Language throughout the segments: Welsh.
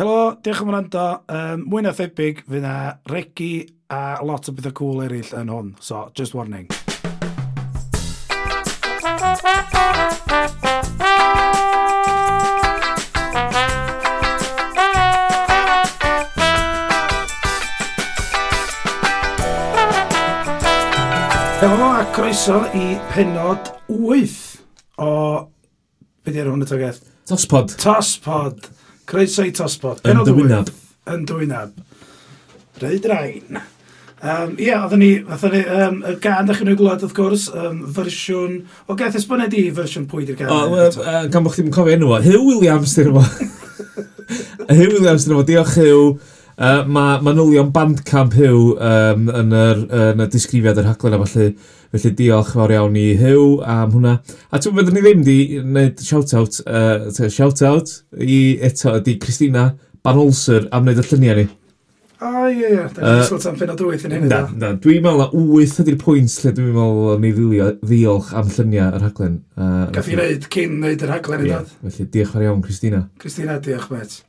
Helo, diolch am wrando. Um, mwy na thebyg, fydd na regi a lot o bethau cool eraill yn hwn. So, just warning. Helo a croeso i penod 8 o... Be di'r hwn y togeth? Tospod. Tospod. Croeso i Tospod. Yn Pennod dy wyneb. wyth. Yn dwynab. Rhaid drain. Um, Ie, yeah, oedden ni, oedden ni, um, y gan ddech chi'n ei glwad, wrth gwrs, um, fersiwn, o gaeth esboned i fersiwn pwy di'r gan. O, wel, yy, gan bod chdi'n cofio enw o, Hugh Williams dyn nhw. Hugh Williams dyn nhw, diolch Hugh. Uh, mae manylion Bandcamp Hugh um, yn, yr, yn y disgrifiad yr haglen a falle. Felly diolch fawr iawn i Hugh am hwnna. A ti'n meddwl ni ddim di wneud shout-out, uh, t- shout-out i eto ydi Christina Banolser am wneud y lluniau ni. O, ie, ie, da ni'n Yy, disgwyl tan pennod wyth yn hyn. Na, ydw. na, dwi'n meddwl na wyth ydy'r pwynt lle dwi'n meddwl ni ddilio- ddiolch am lluniau yr haglen. Uh, Gath i wneud cyn wneud yr haglen i Ie, dod. felly diolch fawr iawn, Christina. Christina, diolch, bet.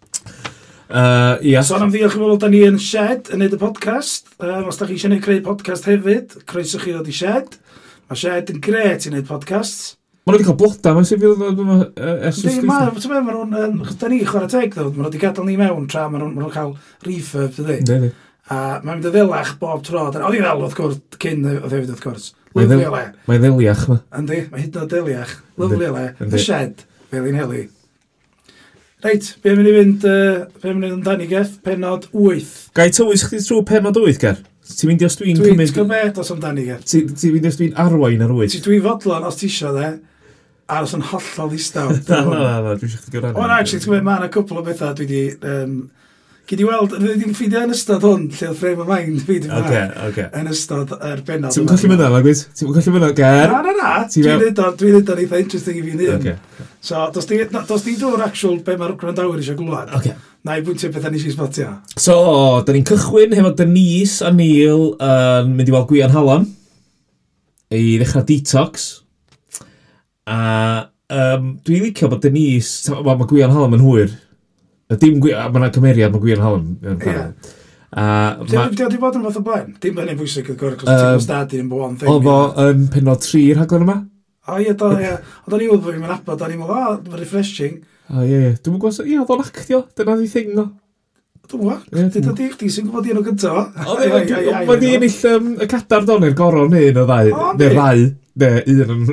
Uh, ia, Sôn am ddiolch i fod, da ni yn shed yn neud y podcast. Um, os da chi eisiau neud creu podcast hefyd, croeso chi ddod i shed. Mae shed yn gret i neud podcasts. Mae nhw wedi cael bloda mewn sefyl ddod yma ers Ydy, ma- ti'n meddwl, ma' nhw'n, yym, achos 'dan ni chwarae teg ddo, ma' nhw 'di gadael ni mewn tra ma' nhw'n- ma' nhw'n cael refurb, dydi? Ydy, A mae'n mynd yn ddelach bob tro. Dyna- oedd hi'n ddel, wrth gwrs, cyn y- y ddefyd, wrth gwrs. Lyfli o le. Mae'n ddeliach ma. Yndi, mae hyd yn oed deliach. Lyfli o le. Yndi. Y shed, Felin Heli. Reit, be mynd i fynd, yy, be mynd i fynd amdani, Geff? Pennod wyth. Gai tywys chdi trwy penod wyth, Ger? Ti'n mynd i os dwi'n Dwi'n cymryd... cymryd os amdani, Geff. Ti- Ti'n mynd i os dwi'n arwain ar wyth? Ti- dwi'n fodlon, os ti isio, de, a os yn hollol ddistaw. Na, na, na, na, dwi'n siach chdi gyfrannu. O, na, actually, ti'n gwybod, mae yna cwpl o bethau dwi di... Um, Gyd i weld, dwi wedi'n ffeindio yn ystod hwn, lle oedd frame of mind fi ddim Oce, oce. yn ystod yr benod. Ti'n yma. colli mynd yna, gwyd? Ti'n colli mynd yna, Ger? Na, na, na, Ti dwi'n fel- dweud o'n, dwi'n dweud o'n eitha interesting i fi'n hyn. Oce, So, dos di, na, dos di dŵr actual be mae'r gwrandawyr eisiau gwlad. oce. Na i bwyntio beth nes i sbotio. So, da ni'n cychwyn hefo Denise a Neil yn mynd i weld Gwian Halan i ddechrau detox. A um, dwi'n licio bod Denise, ta- ma, ma Gwian Halan yn hwyr. Y Dim gwi, a mae yna cymeriad, mae Gwian Halan yn Ie. cael. A ma, Dwi'n wedi bod yn fath o blaen. Dim bynnag bwysig o'r gwrs, Yym, cos ti'n gostadi yn bwan thing. oedd o yn penod 3 i'r haglen yma. O, ie, do, ie. Ond o'n i weld bod fi'n abod, o'n i'n meddwl, o, mae'n refreshing. A ie, ie. Dwi'n gwybod, ie, oedd o'n actio. Dyna di thing, no. Dwi'n gwybod, Ie, dwi'n dod i chdi sy'n gwybod i enw gyntaf. Mae di ennill yym, y cadar don i'r goron un o ddau. O, Neu yndi. ddau. Neu un yn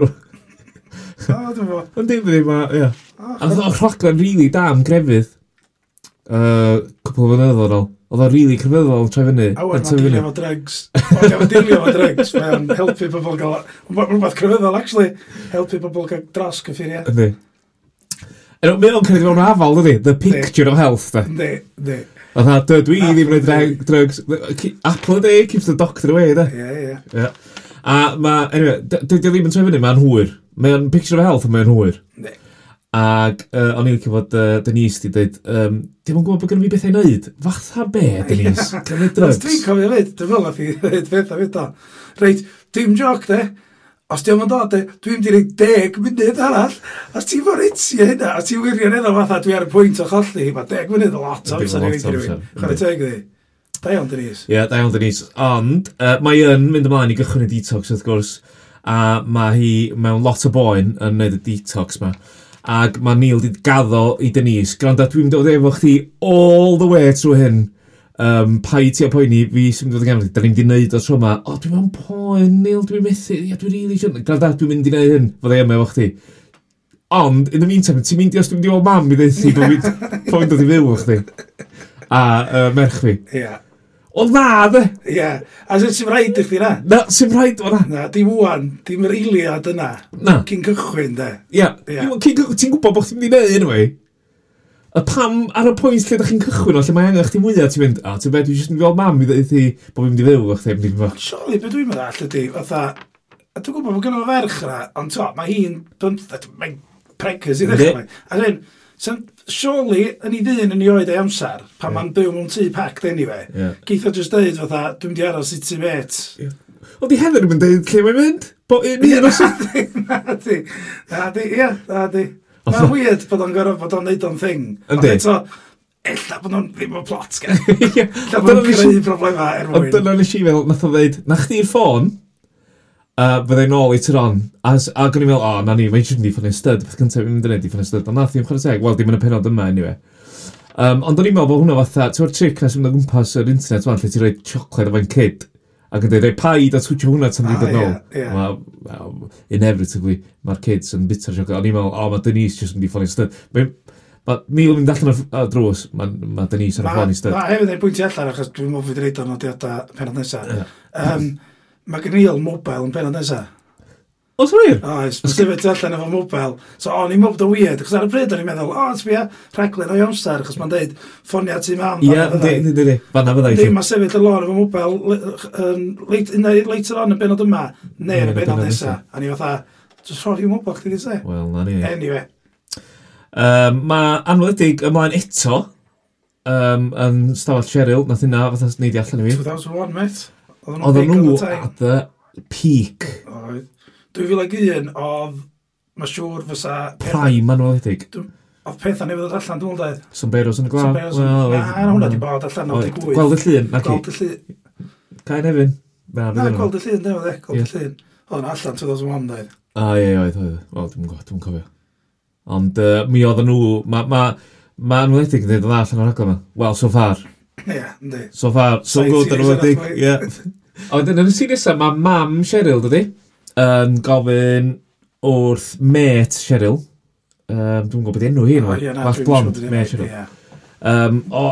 nhw. O, dwi'n gwybod. Ond dim ddim, ie. A O, oedd o'n rhaglen rili da am grefydd. Uh, cwpl o fynyddoedd ôl. Oedd o'n rili crefyddol yn troi fyny. A wen, mae'n yn troi dilio fyny. efo drugs. Mae'n efo dilio efo drugs. Mae'n helpu pobl gael... Mae'n rhywbeth crefyddol, actually. Helpu pobl gael dros cyffuriau. Yndi. Yno, mae o'n credu mewn afal, dydi? The picture of health, da. Yndi, yndi. Oedd ha, dwi dwi Apple ddim a yn day. drag- drugs. Ki- Apple a day keeps the doctor away, da. Ie, ie. Ie. A ma, anyway, d- dwi dwi ddim yn troi fyny, mae'n hwyr. Mae'n picture of health, mae'n hwyr. Yndi. Ac uh, o'n i'n licio bod uh, Denise di dweud, um, dim ond gwybod bod gen fi beth i wneud. Fatha be, Denise? Gen i Os drugs. dwi'n cofio fyd, dwi'n fel athi dweud beth am eto. Reit, dim joc, de. Os diolch yn dod, de, dwi'n di reid deg munud arall. Os ti'n fawr etio hynna, os ti'n wirio'n edrych fatha, dwi ar y pwynt o cholli, mae deg munud o lot o Yndi, amser i lot reid o i rywun. amser, Chwarae yndi. teg iddi. Da iawn, Denise. Ie, da iawn Denise. Ond, uh, mae hi yn mynd ymlaen i gychwyn y detox wrth gwrs, a mae hi mewn lot o boen yn gwneud y detox ma. Ac mae Neil wedi gaddo i Denise, gwranda dwi'n dod efo chdi all the way trwy hyn. Um, pai ti a poeni, fi sy'n mynd i fod yn gefnod, da ni'n mynd i wneud o tro ma. O, dwi'n mewn poen, Neil, dwi'n methu, ia, dwi'n rili eisiau. Gwranda, dwi'n mynd i wneud hyn, fod e yma efo chdi. Ond, in the meantime, ti'n mynd i os dwi'n mynd i o mam i ddeithi bod fi'n bod fi'n dod i fyw o chdi. A uh, merch fi. Ie. O na, dde! Ie. A sut sy'n rhaid i chdi na? Na, sy'n rhaid o'na. Na, dim wwan, dim yr eiliad yna. Na, Cyn cychwyn, de. ia. Ie. Iwan, cyn cy- Ti'n gwybod bod chdi'n mynd i neud anyway? Y pam ar y pwynt lle da chi'n cychwyn o, lle mae angen chdi mwyaf, ti'n mynd, a ti'n bed, dwi'n just yn fel mam i ddweud i bod fi'n mynd i fyw o chdi, mynd i fyw. Surely, beth dwi'n meddwl all ydi, fatha, a dwi'n gwybod bod gynnu fo ferch yna, ond to, mae hi'n, bym- mae'n pregers i ddechrau. Yndi. mae. A dwi'n, sy'n, surely, yn ei ddyn yn ei oed ei amser, pan mae'n byw mewn tŷ packed anyway, Ie. geith o just dweud fatha, dwi'n di aros i ti met. Ond i Heather yn mynd dweud lle mae'n mynd? Bo, un un os... Na di, na di, ie, na di. Mae'n weird bod o'n gorfod bod o'n neud o'n thing. Ond Yndi. eto, ella bod nhw'n ddim o plot gen. Ie, Ella bod dyna nhw'n nes i- creu problemau er Ond mwyn. dyna nes i feddwl, nath o ddeud, na chdi'r ffôn, uh, byddai nôl later on. A, s- ac o'n i'n meddwl, o, na ni, mae'n siŵr ni ffonio styd, peth cyntaf i'n mynd i neud i ffonio styd, ond nath i'n chwarae teg, wel, dim yn y penod yma, anyway. Um, ond o'n i'n meddwl bod hwnna fatha, ti'n o'r trick nes mynd o gwmpas yr internet fan, lle ti'n rhoi chocolate efo'n kid, ac yn dweud, rhoi paid a switio hwnna tan Ah, byd yn ie, ôl. ie. Ma- ma- Inevitably, mae'r kids yn bitter chocolate. O'n i'n meddwl, o, mae Denise jyst yn mynd i ffonio styd. Mae ma, Neil yn mynd allan o'r- o'r drws, mae ma Denise yn y Ma ffonio styd. ma hefyd ei bwyntio allan, achos dwi'n mwyn fydd reid o'n nodiadau penod nesaf. Um, mae gen Neil mobile yn penod nesaf. Os wir? Oes, mae'n sefyd allan efo mobile. So, o'n i'n mwyn weird, achos ar y bryd o'n i'n meddwl, o, sbia, rhaglen o'i amser, achos mae'n deud, ffonia ti mam. Ie, yndi, yndi, yndi. Fanna fydda i Ddim chi. ma sefyll y lôn efo mobile um, later on y benod yma, neu yn y benod nesa. A ni fatha, just rhoi'r mobile chdi di se. Wel, na ni. Anyway, Um, mae anweledig ymlaen eto um, yn stafell Cheryl, nath hynna fatha neud i allan i fi. 2001, mate. Oedden big nhw on the time. at the peak Oedd. 2001 oedd, mae siŵr fysa... prime anweledig. Oedd pethau neu fydd allan, dwi'n dweud. Somberos yn y glaw. Well, na, na, hwnna di bod allan Oedd- 98. Gweld y llun, na Gweld ci. y llun. Cain Efin. Na, Na, fydd yna. gweld y llun, dwi'n dweud. Gweld Ie. y llun. Oedd yn allan 2001, dweud. A Ah, ie, oedd, oedd. Wel, dwi'n gwybod, dwi'n cofio. Ond uh, mi oedden nhw, mae ma, ma anweledig yn dweud yn dda allan o'r agor yma. Wel, so far. Ie, yndi. So far, so Side good yn series ymwedig. arall, Ie. Ond yn y sir nesaf, mae mam Cheryl, dydy, yn gofyn wrth met Cheryl, um, dwi'n gwybod beth enw hi, O, oh, ie, na, dwi'm bach siŵr blond, dwi'n met neud, Cheryl. ie. Um, o,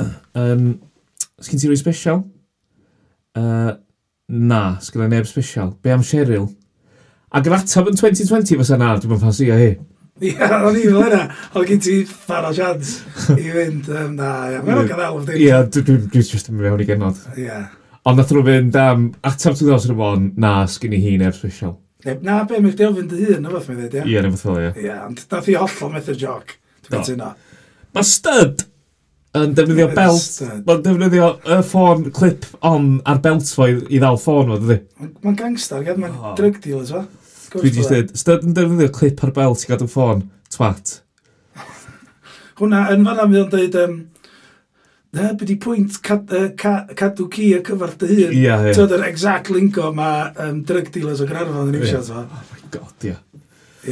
um, sgyn ti rwy special? Uh, na, sgyn i neb special. Be am Cheryl? Ac yr atab yn 2020 fysa na, dwi'n ffansi o hi. Ie, o'n i fel yna. Oedd gen ti ffar o sians i fynd. yym, Na, ie, mae'n o'n gadael o'n Ie, dwi'n just yn mynd mewn i genod. Ie. Ond nath nhw fynd am atab 2001, na, sgyn i hi neb special. Neb- Na, be, mae'n gdew fynd y hun, o beth mae'n dweud, ie. Ie, neu beth fel ie. Ie, ond nath i hollol methu'r joc. Do. Dwi'n cytuno. Mae stud yn defnyddio Yn belt. stud. Mae'n defnyddio y ffôn clip on ar belt fo i, i ddal ffôn fo, dydy. Ma'n- Mae'n gangster, gyd, mae'n Oh. drug dealers, fa? Dwi wedi dweud, stud yn defnyddio clip ar belt i gadw ffôn. Twat. Hwna, yn fanna mi o'n dweud, na, byd i pwynt cad- yy, ca- cadw ci y cyfar dy hun. Ie, ie. Tyd yr exact lingo mae um, drug dealers o Granarfon yn Ie. iwsio, fa? Oh my god, ie.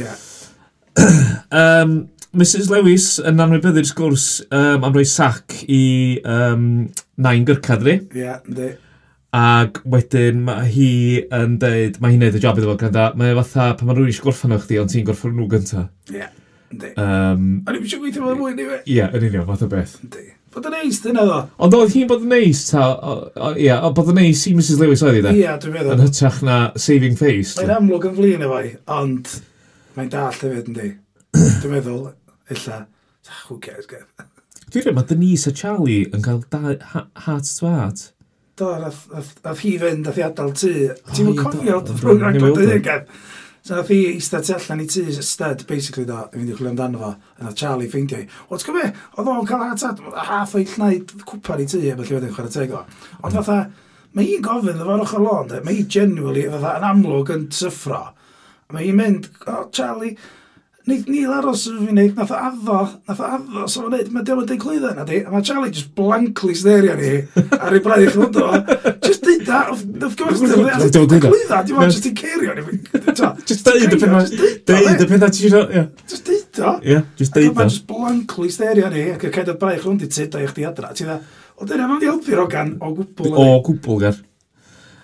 Ie. Um, Mrs Lewis yn anwybyddu'r sgwrs um, am roi sac i um, nain gyrcad ni. Ie, yndi. Ac wedyn mae hi yn deud, mae hi'n neud y job iddo fo gwranda. Mae fatha pan mae rhywun eisiau gorffan o chdi, ond ti'n gorffan nhw gyntaf. Ie, yndi. Um, O'n i'n siw gweithio fel mwy, ni fe? ie, yn union, fath o beth. Yndi. Fod yn eist, dyna ddo. Ond oedd hi'n bod yn neis, ta, o- o- ie, o, bod yn neis i Mrs Lewis oedd hi, da? Ie, dwi'n Yn meddwl. hytrach na Saving Face. Mae'n ta. amlwg yn flin efo i, ond mae'n dall hefyd yndi. Dwi'n meddwl, illa, "Ah, who cares, gair. Dwi'n rhaid, mae Denise a Charlie yn cael da, ha, heart to heart. Do, nath- nath nath hi fynd, nath hi adael tŷ. Ti'n ie, mwyn cofio, do, dwi'n do, rhan ni weld gwrdd o. yn gair. So nath hi eista tu allan i tŷ stud, basically do, i fynd i chwilio amdano fo, a nath Charlie ffeindio hi. O, ti'n gwybod, oedd o'n cael atad, half o'i llnaid cwpan i tŷ, efo lle wedyn chwarae teg o. Ond fatha, mae hi'n gofyn efo'r ochr lôn, de, mae hi genuinely, fatha, yn amlwg yn syffro. A mae hi'n mynd, o, Charlie, Neith Neil aros yn fi wneud, nath o addo, nath o addo, so fo'n neud, mae Dylan dweud clwyddo na di, a mae Charlie just blankly sterio ni, ar ei braidd i chlydo fo, just dweud da, of course, Dwi'n Dylan, gwbod, dwi'n dwi'n gwbod. clwyddo, dwi'n Na. meddwl, just i cerio ni, t'o, Just deud y pethau. Deud y just pethau ti eisiau. just deud o, Ie, just ac deud mae o. just blankly sterio ni, ac y cael y braidd chlydo i ti, da i chdi adra, ti dda, o dyna, mae'n helpu'r ogan o gwbl, O, gwbl, gar.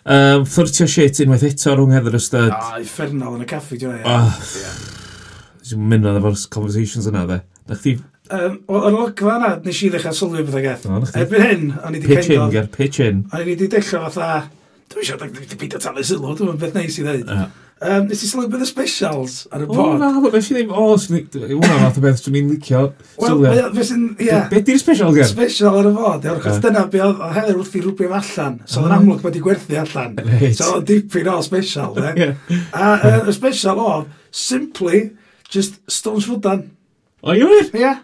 Um, flirtio shit unwaith eto rhwng Heather Ystod. a effernol yn y caffi, dwi'n meddwl, Ah, Dwi'n mynd ar efo'r conversations yna, dde. Na chdi Yym, o- o'r logfa yna, nes i ddechrau sylwi beth ag eth. Ah. O, na chdi. Erbyn hyn, o'n i wedi pitch in, kind of, gar, pitch in. A ni wedi dechrau fatha, dwi'n siarad ac dwi'n beidio talu sylw, dwi'n meddwl beth neis i ddweud. Ie. Um, nes i sylw bydd y specials ar y Ah. O, bod. na, hwnnw, nes i ddim, o, swn i- hwnna fath o beth, swn i'n licio. Wel, sylwi ar. mae o- fe sy'n, ie, Be di'r special, gar? special ar y bod. Ie, achos Ie. dyna be oedd oedd Heather wrth i rwbio allan. So oedd yn Ah. amlwg wedi gwerthu allan. Reit. So oedd dipyn o special. de. Ie. A yy, y special oedd, simply, just Stones Rudan. O, i wir? Ie.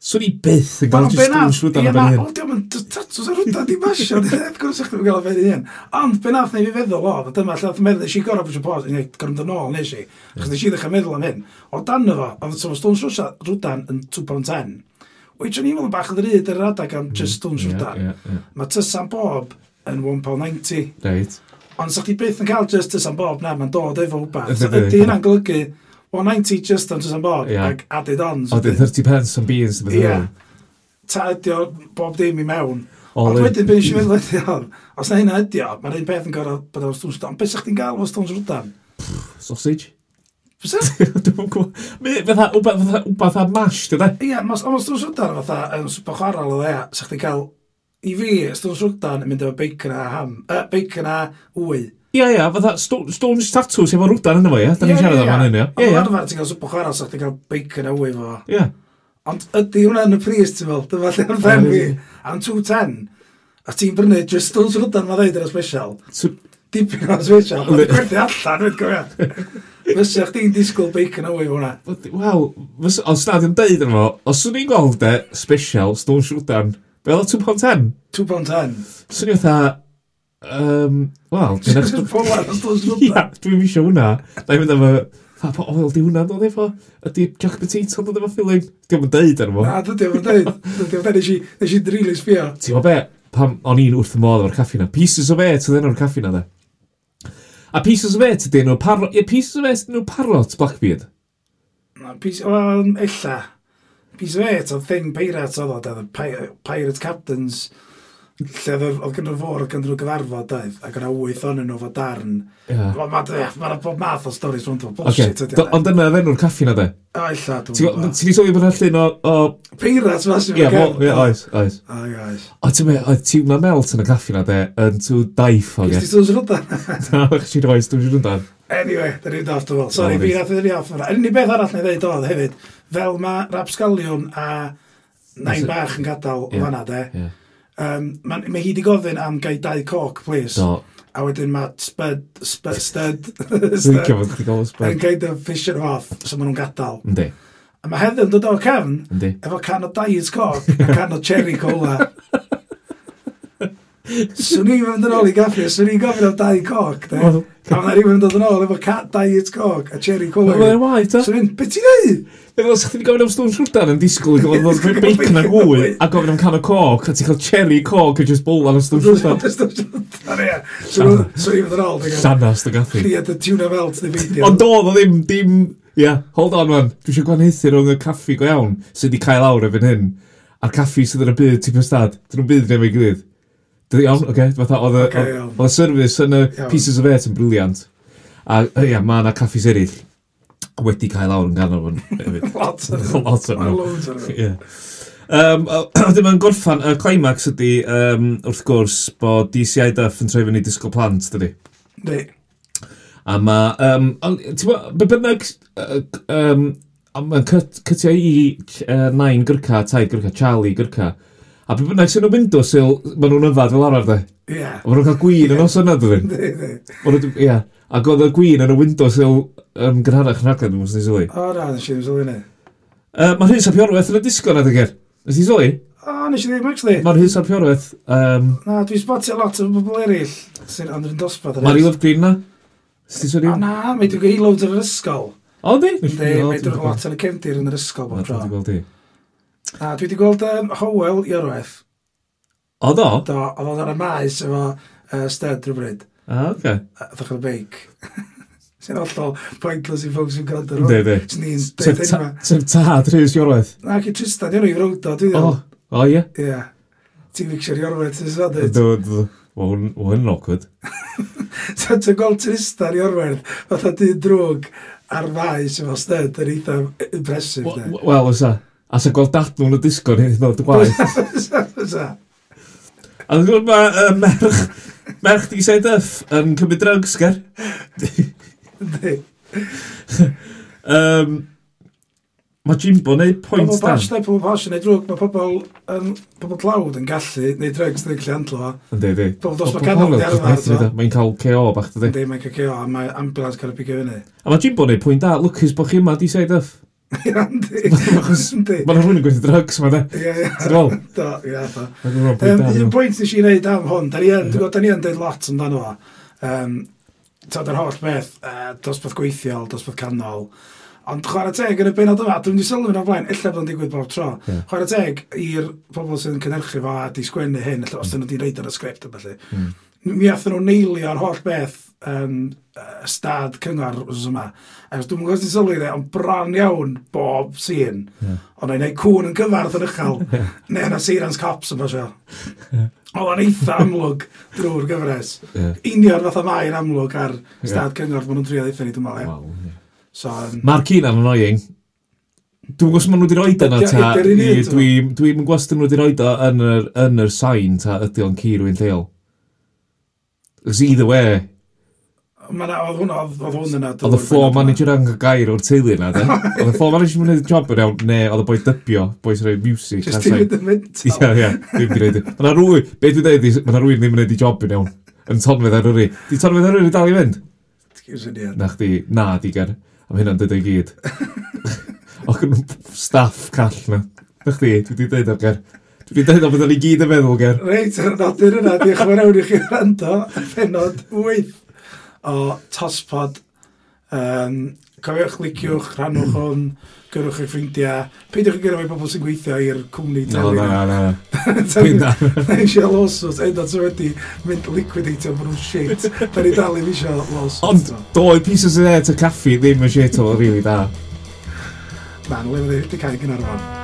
Swn i byth Wel, yn gael be just na- dwi'n swyd ie, am na, ben hyn. o, diom yn t- tatws ar hwnna, di basio, di, wrth gwrs eich ddim yn cael o ben hyn. Ond be nath neu fi feddwl o, a dyma lle nath meddwl, nes i gorau bwysio pos, neu gorau mynd yn ôl, nes i, Hmm. achos nes i ddechrau meddwl am hyn. O dan efo, oedd Thomas Stones Rwdan yn 2010, Wyt ni'n meddwl bach yn ddryd yr adag am just stones Hmm. Ie, yeah, rwdan. ie, ie. Mae tysan bob yn £1.90. Reit. Ond sa'ch chi byth yn cael just tysan bob na, mae'n dod efo wbath. So, Ydy. Ydy hynna'n golygu 1.90 just am tysan bob Ie. ac added on. O, dyn 30 pence am beans, beth Ie. yeah. Ta ydi o bob dim i mewn. All Ond in. wedyn beth eisiau meddwl ydi o. Os na hynna ydi o, mae'r un peth yn gorau bod o'n stwns rwdan. Beth sa'ch chi'n gael o stwns rwdan? Sausage? Fysa? Dwi'n gwybod. Mi- Fatha, wbath fatha- wbath a mash, dydde? Ie, yeah, mas, ond stwns rwdan fatha yn super chwarel o ddea, sa'ch chi'n cael i fi, stwns rwdan yn mynd efo bacon a ham, uh, bacon a wy. Ia, ia, fatha sto- stone status efo rwdan yna fo, ia? Da ni'n siarad am hynny, ia? Ond Ia, yn arfer ti'n cael swp o chwarae, sa'ch ti'n cael bacon a wy fo. ia. Ia. Ond ydy hwnna yn y pris, ti'n fel, dyma lle ar ben O, fi. ie. Am 210, a ti'n brynu just stwns rwdan ma ddeud yn y special. So- Dipyn o'n special, Yndi. ond gwerthu allan, dwi'n gofio. Fysa chdi'n disgwyl bacon a wy fo hwnna. Wel, fys- os nad yn deud yna fo, os swn i'n gweld e, special, stone rwdan, fel o 2.10, 2.10. swn i'n fatha, um, wel, dwi'n Just eich... polar o stwns Ia, rwdan. dwi'n misio hwnna. Da i'n mynd efo, fa, pa oil di hwnna'n dod efo? Ydi jack potato yn dod efo filling? Dwi'n mynd deud arno fo. Na, dydy o'n dweud. Dydy o'n dweud, nes i- nes i'n drili sbio. Ti'n gwbo be, pam o'n i'n wrth y modd o'r caffi na. Pieces of it ydyn nhw'r caffi na, de. A pieces of it ydyn nhw parrot, ie, pieces of it ydyn nhw parrot Blackbeard. Na, pis- Wel, ella. Piece of eight, oedd thing pirates oedd o, oedd y pi- pirate captains, lle oedd y- oedd gynnu fôr, oedd gynnu gyfarfod oedd, ac yna wyth o'n nhw fo darn. Ie. Wel, ma- ie, Ma' na bob math o storis rwy'n dweud, Ah. Oce, bullshit ydi d- hwnna. ond dyna fe nhw'r caffi na, de. O, ella, dwi'n Ti'n gwbo- gwybod. ti di sylwi bod yna llun o... o- Pirates, mas i'n Ie, wel, ie, oes, oes. O, ie, oes. O, ti'n mynd, oedd tiwna melt yn y caffi na, de, yn tŵ daif o, Gys ge. ti sôn rwdan? Na, o'ch ti'n rhoi, dwi'n siŵr yn dan. Anyway, da ni'n daft o fel. Sorry, O, fi reit. nath ydyn ni off yna. Unig beth arall na i ddeud oedd hefyd, fel mae Rapsgalion a Nain Nes- Bach yn gadael Ie. fanna, de. Ie. Um, mae ma hi di gofyn am gai dau coc, please. Do, A wedyn mae sped, sped, stud, Dwi'n stud, licio fod wedi gael ysbryd. yn gaid y ffisio nhw off, so maen nhw'n gadael. Yndi, A mae Heather yn dod o'r cefn, yndi. efo can o diet coc, a can o cherry cola. Swn i'n mynd yn ôl i gaffi, swn i'n gofyn am dau coc, de. Wel- A mae rhywun yn dod yn ôl efo ca- diet coc a cherry cola. Mae'n waith, ta? Swn i'n, beth ti'n neud? Fe fel sa'ch ti'n gofyn am stwn siwrdan yn disgwyl i gael oedd Gael bacon a bacon a gwy wy. a gofyn am can o coc a ti'n cael cherry coc a just bolan o stwn siwrdan. Swn i'n mynd yn ôl, de. Llanas dy gathu. Chdi at y tuna melt, neu beidio. Ond doedd o ddim, dim... Ia, yeah, hold on man. Dwi eisiau gwanhethu rhwng y caffi go iawn sydd wedi cael awr efo'n hyn a'r caffi sydd yn y byd tip ystad. Dyn nhw'n byd neu fe'i gilydd. Dwi iawn, oce, okay, fatha oedd y Ocê, oedd- iawn. oedd y service yn y Iawn. pieces of eight yn briliant. A ia, yeah, mae yna caffis eraill wedi cael awr yn ganol fan hefyd. Lot o nhw. Lot o Mae nhw. loads o nhw. Ie. Um, Oedden ma'n gorffan, y climax ydy, um, wrth gwrs, bod DCI Duff yn troi fyny disgwyl plant, dydy. Yndi. A mae, um, ond, ti'n gwbod, be bynnag, yy, um, mae'n cytio i uh, nain gyrca, tai gyrca, Charlie gyrca. A be bynnag sy'n nhw'n mynd o syl, maen nhw'n yfad fel arfer, de. Ie. A maen nhw'n cael gwyn yn os yna, dydyn. Yndi, yndi. Ma' nhw 'di- Ie. Ac oedd y gwyn yn y window syl um, gynharach yn rhaglen, dwi'n mwyn sy'n sylwi. O, na, nes i ddim sylwi hynny. Uh, Mae'r hyn sa'r piorweth yn y disgo na, dwi'n ger. Nes ti'n sylwi? O, nes i ddim, actually. Mae'r hyn sa'r piorweth, um, Na, dwi'n spotio lot o bobl eraill sy'n ond yn dosbarth. Mary Love Green na? Sdi O, sori? na, mae dwi'n gwneud loads yn yr ysgol. O, di? Yndi, mae dwi'n lot yn y cefndir yn yr ysgol bob tro. gweld di. Na, dwi wedi gweld um, Howell i orwaith. O, do? Do, a fod ar y maes efo uh, sted rhywbryd. A, oce. Ddech chi'n beic. Sy'n hollol pointless i ffog sy'n gwrando ar Yndi, hwn. yndi. Sy'n ni'n dweud enw. Sef tad, Rhys Iorwaith. Na, ac i Tristan, yw'n i frawdo, dwi'n O, dweud. o, ie. Ie. Ti'n fixio'r orwaith sy'n sfadid. Do, do. Wel, hwn- wel, hwn yn awkward. Ta ti'n gweld Tristan i orwerth, fatha di drwg ar faes efo sted yn eitha impresif. Wel, wel, oes a. A sa'n gweld dad nhw'n y disgo ni ddod y gwaith. Fysa. A dwi'n gwybod mae yy, merch, merch di said yff yn cymryd drugs, ger. Yndi. Um, mae Jimbo neu Pobl point posh, dan. neu pobl posh yn neud drwg, mae pobl, yym, pobl tlawd yn gallu neud drugs yn gallu handlo fo. Ynddi, ynddi. Pobl dos mae canol di arfer, t'mo'. Mae'n cael KO bach, dydi. Yndi, mae'n cacio, a mae ambulance cael ei pigio fyny. A mae Jimbo neu pwynt da, lwcus bod chi yma di said yff. Yndi. Achos- Yndi. Mae rhywun yn gweithio drugs yma, de. Ie, ie. Ti'n gweld? Do, ie, do. Mae'n rhywun yn Um, un pwynt da. pwynt nes i wneud am hwn, da ni yn, dwi'n gwybod, da ni yn deud lot amdano fo. Um, Tad yr holl beth, uh, dosbarth gweithiol, dosbarth canol. Ond chwarae teg yn y benod yma, dwi'n di sylwi na blaen, illa bod o'n digwydd bob tro. Ie. Yeah. Chwarae teg i'r pobl sydd yn cynhyrchu fo a di sgwennu hyn, illa, os dyn nhw di reid ar y sgript a felly. Mm. Mi athyn nhw neilio'r holl beth um, stad cyngor os yma. Ac dwi'n gwybod sy'n sylwi dde, ond bron iawn bob sîn. Ie. Ond o'n ei cwn yn gyfarth yn uchel. Neu yna Sirans Cops yn fasio. Oedd o'n eitha amlwg drwy'r gyfres. Ie. Union fatha mae'n amlwg ar stad cyngor maen nhw'n trio ddeithio ni, dwi'n meddwl. ie. Wow. ie. So, yym, Mae'r cyn yn annoying. Dwi'n gwybod maen nhw wedi roed yna Ie, ta. ydi'r un un, Ie, t'mo'? Dwi'n dwi gwybod dyn nhw wedi roed o yn yr, yn yr sain ta ydy o'n ci rwy'n lleol. Cos either way, Ma' na, oedd hwnna, oedd oedd hwn yna. oedd y floor manager yn gair o'r teulu yna, de. Oedd y floor manager yn gwneud y job yn iawn, ne, oedd y boi dybio, boi sy'n rhoi music. Just a ti'n sain. mynd yn mynd. Ie, ie, ddim di reid. Mae'na rwy, be dwi'n dweud, mae'na rwy'n ddim yn gwneud i job yn iawn. Yn tonfedd ar yri. Di tonfedd ar yri dal i fynd? Excuse me, ie. Na chdi, na digar. Am hynna'n dweud o'i gyd. Ac yn staff call na. Na chdi, dwi wedi dweud o'r ger. Dwi wedi dweud o beth o'n i gyd yn meddwl ger. Reit, yr nodyn yna, diolch yn fawr iawn i chi wrando, penod 8 o Tospod. Um, cofiwch, liciwch, rhanwch hwn, gyrwch eich ffrindiau. Peidiwch yn gyrwch i bobl sy'n gweithio i'r cwmni No, na, na, na. Dwi'n Dwi'n na. eisiau lawsuits, end o'n wedi mynd liquidatio brwn shit. Da ni dal i eisiau Ond, lawsuits. doi pieces of air to caffi ddim yn shit o'r rili da. Man, le fyddi, di cael gynnar fan.